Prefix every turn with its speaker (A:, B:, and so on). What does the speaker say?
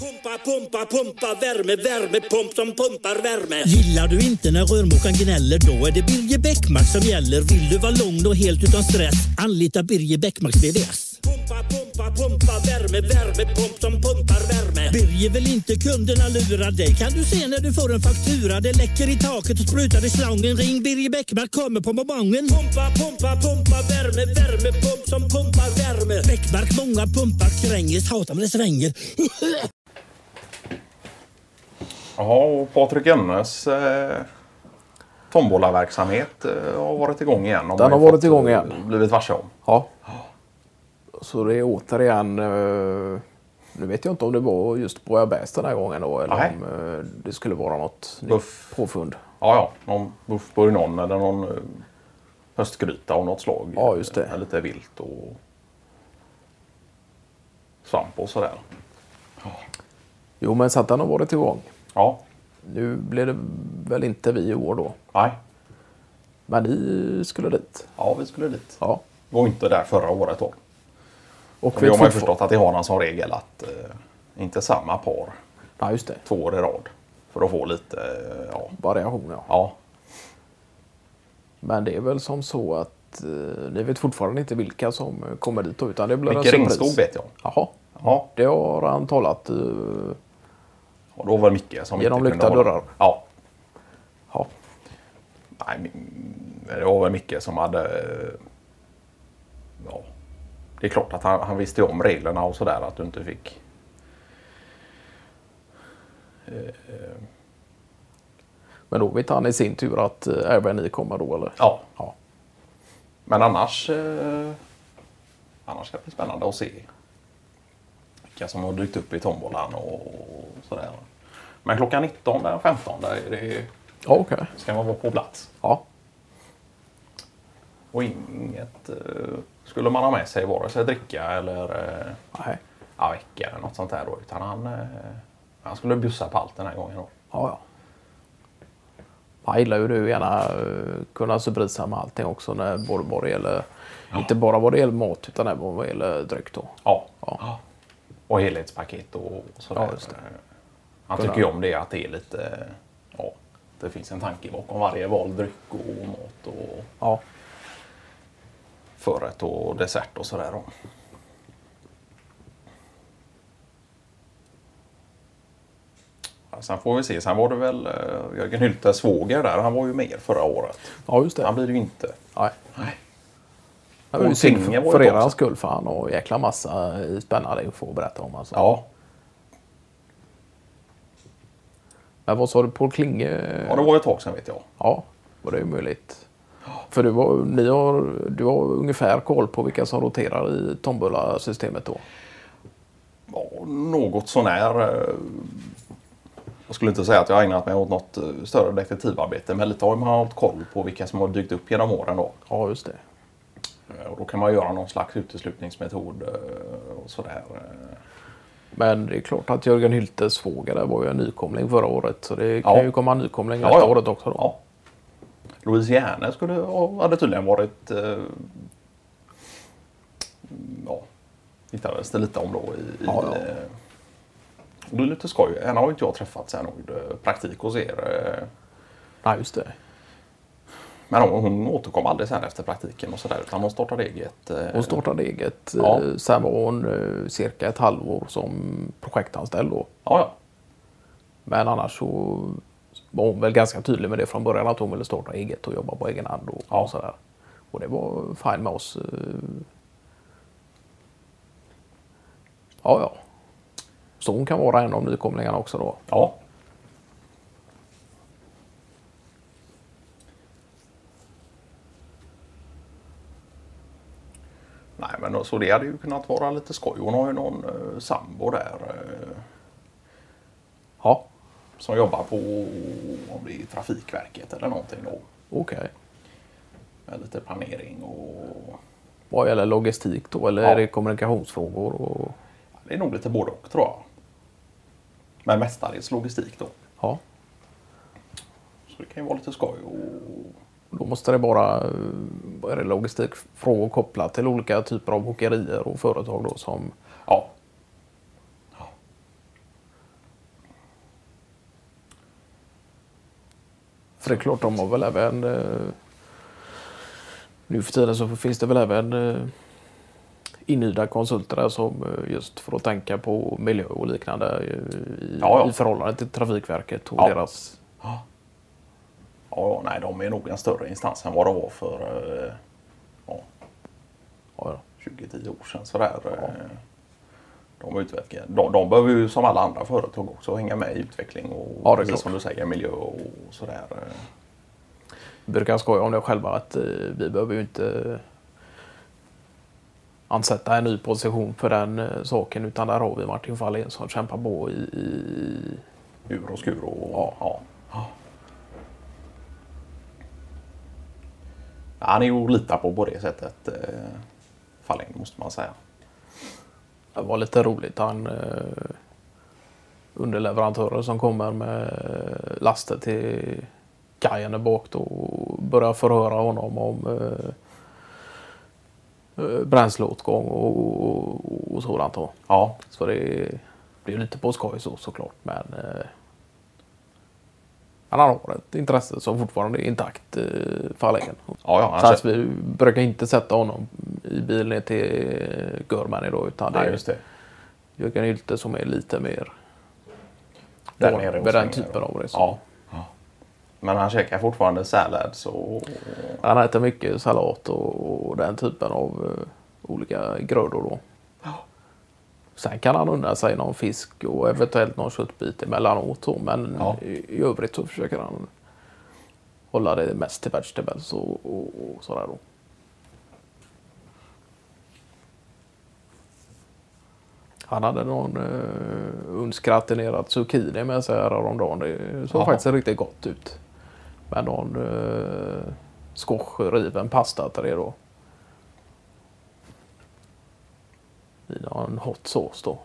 A: Pumpa, pumpa, pumpa, värme, värme, pump som pumpar värme.
B: Gillar du inte när rörmokaren gnäller? Då är det Birger Bäckmark som gäller. Vill du vara lugn och helt utan stress? Anlita Birger Bäckmarks BVS.
A: Pumpa, pumpa, pumpa, värme, värme, pump som pumpar värme.
B: Birger vill inte kunderna lura dig. Kan du se när du får en faktura? Det läcker i taket och sprutar i slangen. Ring Birger Bäckmark, kommer på morgonen.
A: Pumpa, pumpa, pumpa, värme, värme, pump som pumpar värme.
B: Bäckmark, många pumpar kränges. Hatar när det svänger.
C: Ja, och Patrik Emmes eh, tombolaverksamhet eh, har varit igång igen.
D: Den har
C: vi fått,
D: varit igång igen.
C: eh, Blivit varse om.
D: Ja. Så det är återigen... eh, Nu vet jag inte om det var just Borgabergs den här gången då, eller
C: Nej.
D: om eh, det skulle vara något nytt
C: Buff.
D: påfund.
C: Ja, ja. Någon buff bourguignon eller någon eh, höstgryta av något slag.
D: Ja, just det.
C: Eh, Lite vilt och svamp och sådär.
D: Jo, men så att den har varit igång.
C: Ja,
D: Nu blev det väl inte vi i år då.
C: nej.
D: Men ni skulle dit.
C: Ja, vi skulle dit.
D: Ja.
C: Var inte där förra året då.
D: Och
C: Vi har man ju
D: fortfar-
C: förstått att det har någon som regel att eh, inte samma par
D: Nej, just det.
C: två år i rad. För att få lite, eh, ja.
D: Variation, ja.
C: ja.
D: Men det är väl som så att eh, ni vet fortfarande inte vilka som eh, kommer dit då, utan det blir
C: Micke
D: en
C: Ringskog
D: surpris.
C: vet jag.
D: Jaha,
C: Ja,
D: det har han talat. eh,
C: och då var det Micke som
D: Genom
C: inte
D: lyckta
C: kunde hålla-
D: dörrar.
C: Ja.
D: Ja,
C: Nej, men det var väl Micke som hade... eh, Ja. Det är klart att han, han visste ju om reglerna och sådär att du inte fick...
D: men då vet han i sin tur att eh, även ni kommer då, eller?
C: Ja.
D: Ja.
C: Men annars... Eh, annars ska det bli spännande att se vilka som har dykt upp i tombolan och, och sådär. Men klockan 19 den 15 där är det,
D: Ja, okej.
C: ska man vara på plats.
D: Ja.
C: Och inget eh, skulle man ha med sig vare sig dricka eller eh,
D: Nej.
C: ja, vecka eller något sånt där då. Utan han, eh, han skulle bjussa på allt den här gången då.
D: Ja, ja. Jag gillar ju du gärna eh, kunna surprisa med allting också, när, både vad det gäller, inte bara vad det gäller mat utan även vad det gäller dryck då.
C: Ja.
D: Ja.
C: Och helhetspaket och och sådär.
D: Ja, just det.
C: Han tycker ju om det att det är lite... Ja, det finns en tanke bakom varje val. Dryck och mat och
D: Ja.
C: förrätt och dessert och sådär. då. Ja, Sen får vi se. Sen var det väl eh, Jörgen Hyltes svåger där. Han var ju med förra året.
D: ja, just
C: Han
D: det.
C: blir det ju inte.
D: Nej.
C: Nej.
D: Det var ju
C: Och
D: synd
C: Tinge var
D: för,
C: ju
D: för
C: på
D: er
C: också.
D: skull för han har jäkla massa eh, spännande info att berätta om. Alltså.
C: Ja,
D: Men vad sa du, Paul Klinge? eh,
C: ja det var ju ett tag sedan vet jag.
D: Ja, och det är ju möjligt. För du har, ni har, du har ungefär koll på vilka som roterar i tombola-systemet då?
C: Ja, något sånär. eh, Jag skulle inte säga att jag har ägnat mig åt något eh, större detektivarbete men lite har man haft koll på vilka som har dykt upp genom åren då.
D: Ja, just det.
C: Eh, Och då kan man göra någon slags uteslutningsmetod eh, och sådär. eh.
D: Men det är klart att Jörgen Hyltes svåger där var ju en nykomling förra året. Så det kan
C: Ja.
D: ju komma en nykomling
C: Ja,
D: nästa
C: ja.
D: året också. Då.
C: Ja. Louise Järne skulle, ha- hade tydligen varit... Eh, ja, hittades det lite om då i... i
D: Ja, ja.
C: eh, Det är lite skoj. Henne har ju inte jag träffat sen hon gjorde praktik hos er. eh.
D: Nej, just det.
C: Men hon, hon återkom aldrig sen efter praktiken och sådär utan hon startade eget. eh,
D: Hon startade eget.
C: Ja.
D: Eh, Sen var hon eh, cirka ett halvår som projektanställd då.
C: Ja, ja.
D: Men annars så var hon väl ganska tydlig med det från början att hon ville starta eget och jobba på egen hand och,
C: Ja.
D: och sådär. Och det var fine med oss. eh. Ja, ja. Så hon kan vara en av nykomlingarna också då.
C: ja. Nej men då- så det hade ju kunnat vara lite skoj. Hon har ju någon eh, sambo där eh,
D: Ja,
C: som jobbar på om det är Trafikverket eller någonting då.
D: okej.
C: Med lite planering och...
D: Vad gäller logistik då eller
C: Ja.
D: är det kommunikationsfrågor? Och...
C: Ja, Det är nog lite både och tror jag. Men mestadels logistik då.
D: Ja,
C: Så det kan ju vara lite skoj och...
D: då måste det bara eh, vad är det, logistikfrågor kopplat till olika typer av åkerier och företag då som
C: Ja,
D: Så det är klart, de har väl även... Eh, nu för tiden så finns det väl även eh, inhyrda konsulter där som eh, just för att tänka på miljö och liknande eh, i,
C: Ja, ja.
D: i förhållande till Trafikverket och
C: Ja.
D: deras...
C: Ja, nej, de är nog en större instans än vad det var för eh, ja,
D: Ja, ja.
C: 20-10 år sedan. Sådär. Eh, De, utvecklar, de, de behöver ju som alla andra företag också hänga med i utveckling och
D: Ja, det är
C: precis
D: klart.
C: som du säger miljö och sådär. eh.
D: Vi brukar skoja om det själva att eh, vi behöver ju inte eh, ansätta en ny position för den eh, saken utan där har vi Martin Fahlén som kämpar på i, i,
C: Ur och skur och ja. ja. Han är ju att lita på på det sättet. eh, Fahlén måste man säga.
D: Det var lite roligt. Han, eh, underleverantörer som kommer med laster till kajen där bak då och börjar förhöra honom om eh, eh, bränsleåtgång och, och, och sådant. Då.
C: Ja,
D: Så det blir lite på skoj så, såklart. Men eh, han har ett intresse som fortfarande är intakt, eh, Fahlén.
C: ja, ja, han
D: Så att
C: känner-
D: vi brukar inte sätta honom i bilen ner till Görman idag utan det
C: Nej,
D: är
C: just det.
D: Jörgen Hylte som är lite mer
C: Där
D: van
C: nere och
D: med den
C: svänger
D: typen
C: och-
D: av resor.
C: Ja. Men han käkar fortfarande sallads och...
D: Han äter mycket salat och, och den typen av eh, olika grödor. Då. Sen kan han unna sig någon fisk och eventuellt någon köttbit emellanåt. Då, men
C: Ja.
D: i, i övrigt så försöker han hålla det mest till vegetables och, och, och sådär. Då. Han hade någon eh, unskratinerad zucchini med sig häromdagen. Det såg
C: Jaha.
D: faktiskt riktigt gott ut. Med någon eh, squashriven pasta till det då. I någon hot sås då.